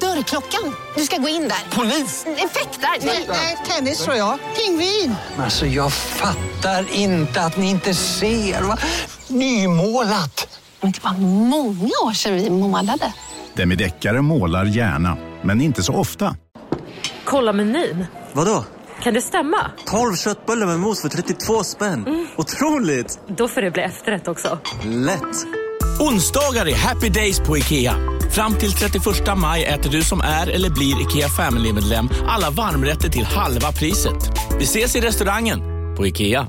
O: Dörrklockan. Du ska gå in där. Polis? Effektar? Nej, nej, tennis tror jag. Pingvin.
P: Alltså jag fattar inte att ni inte ser. Va? Nymålat!
O: Men det var många år sedan vi målade.
Q: Demideckare målar gärna, men inte så ofta.
R: Kolla menyn.
S: Vadå?
R: Kan det stämma?
S: 12 köttbullar med mos för 32 spänn.
T: Mm.
S: Otroligt!
R: Då får det bli efterrätt också.
S: Lätt!
T: Onsdagar är happy days på IKEA. Fram till 31 maj äter du som är eller blir IKEA Family-medlem alla varmrätter till halva priset. Vi ses i restaurangen på IKEA.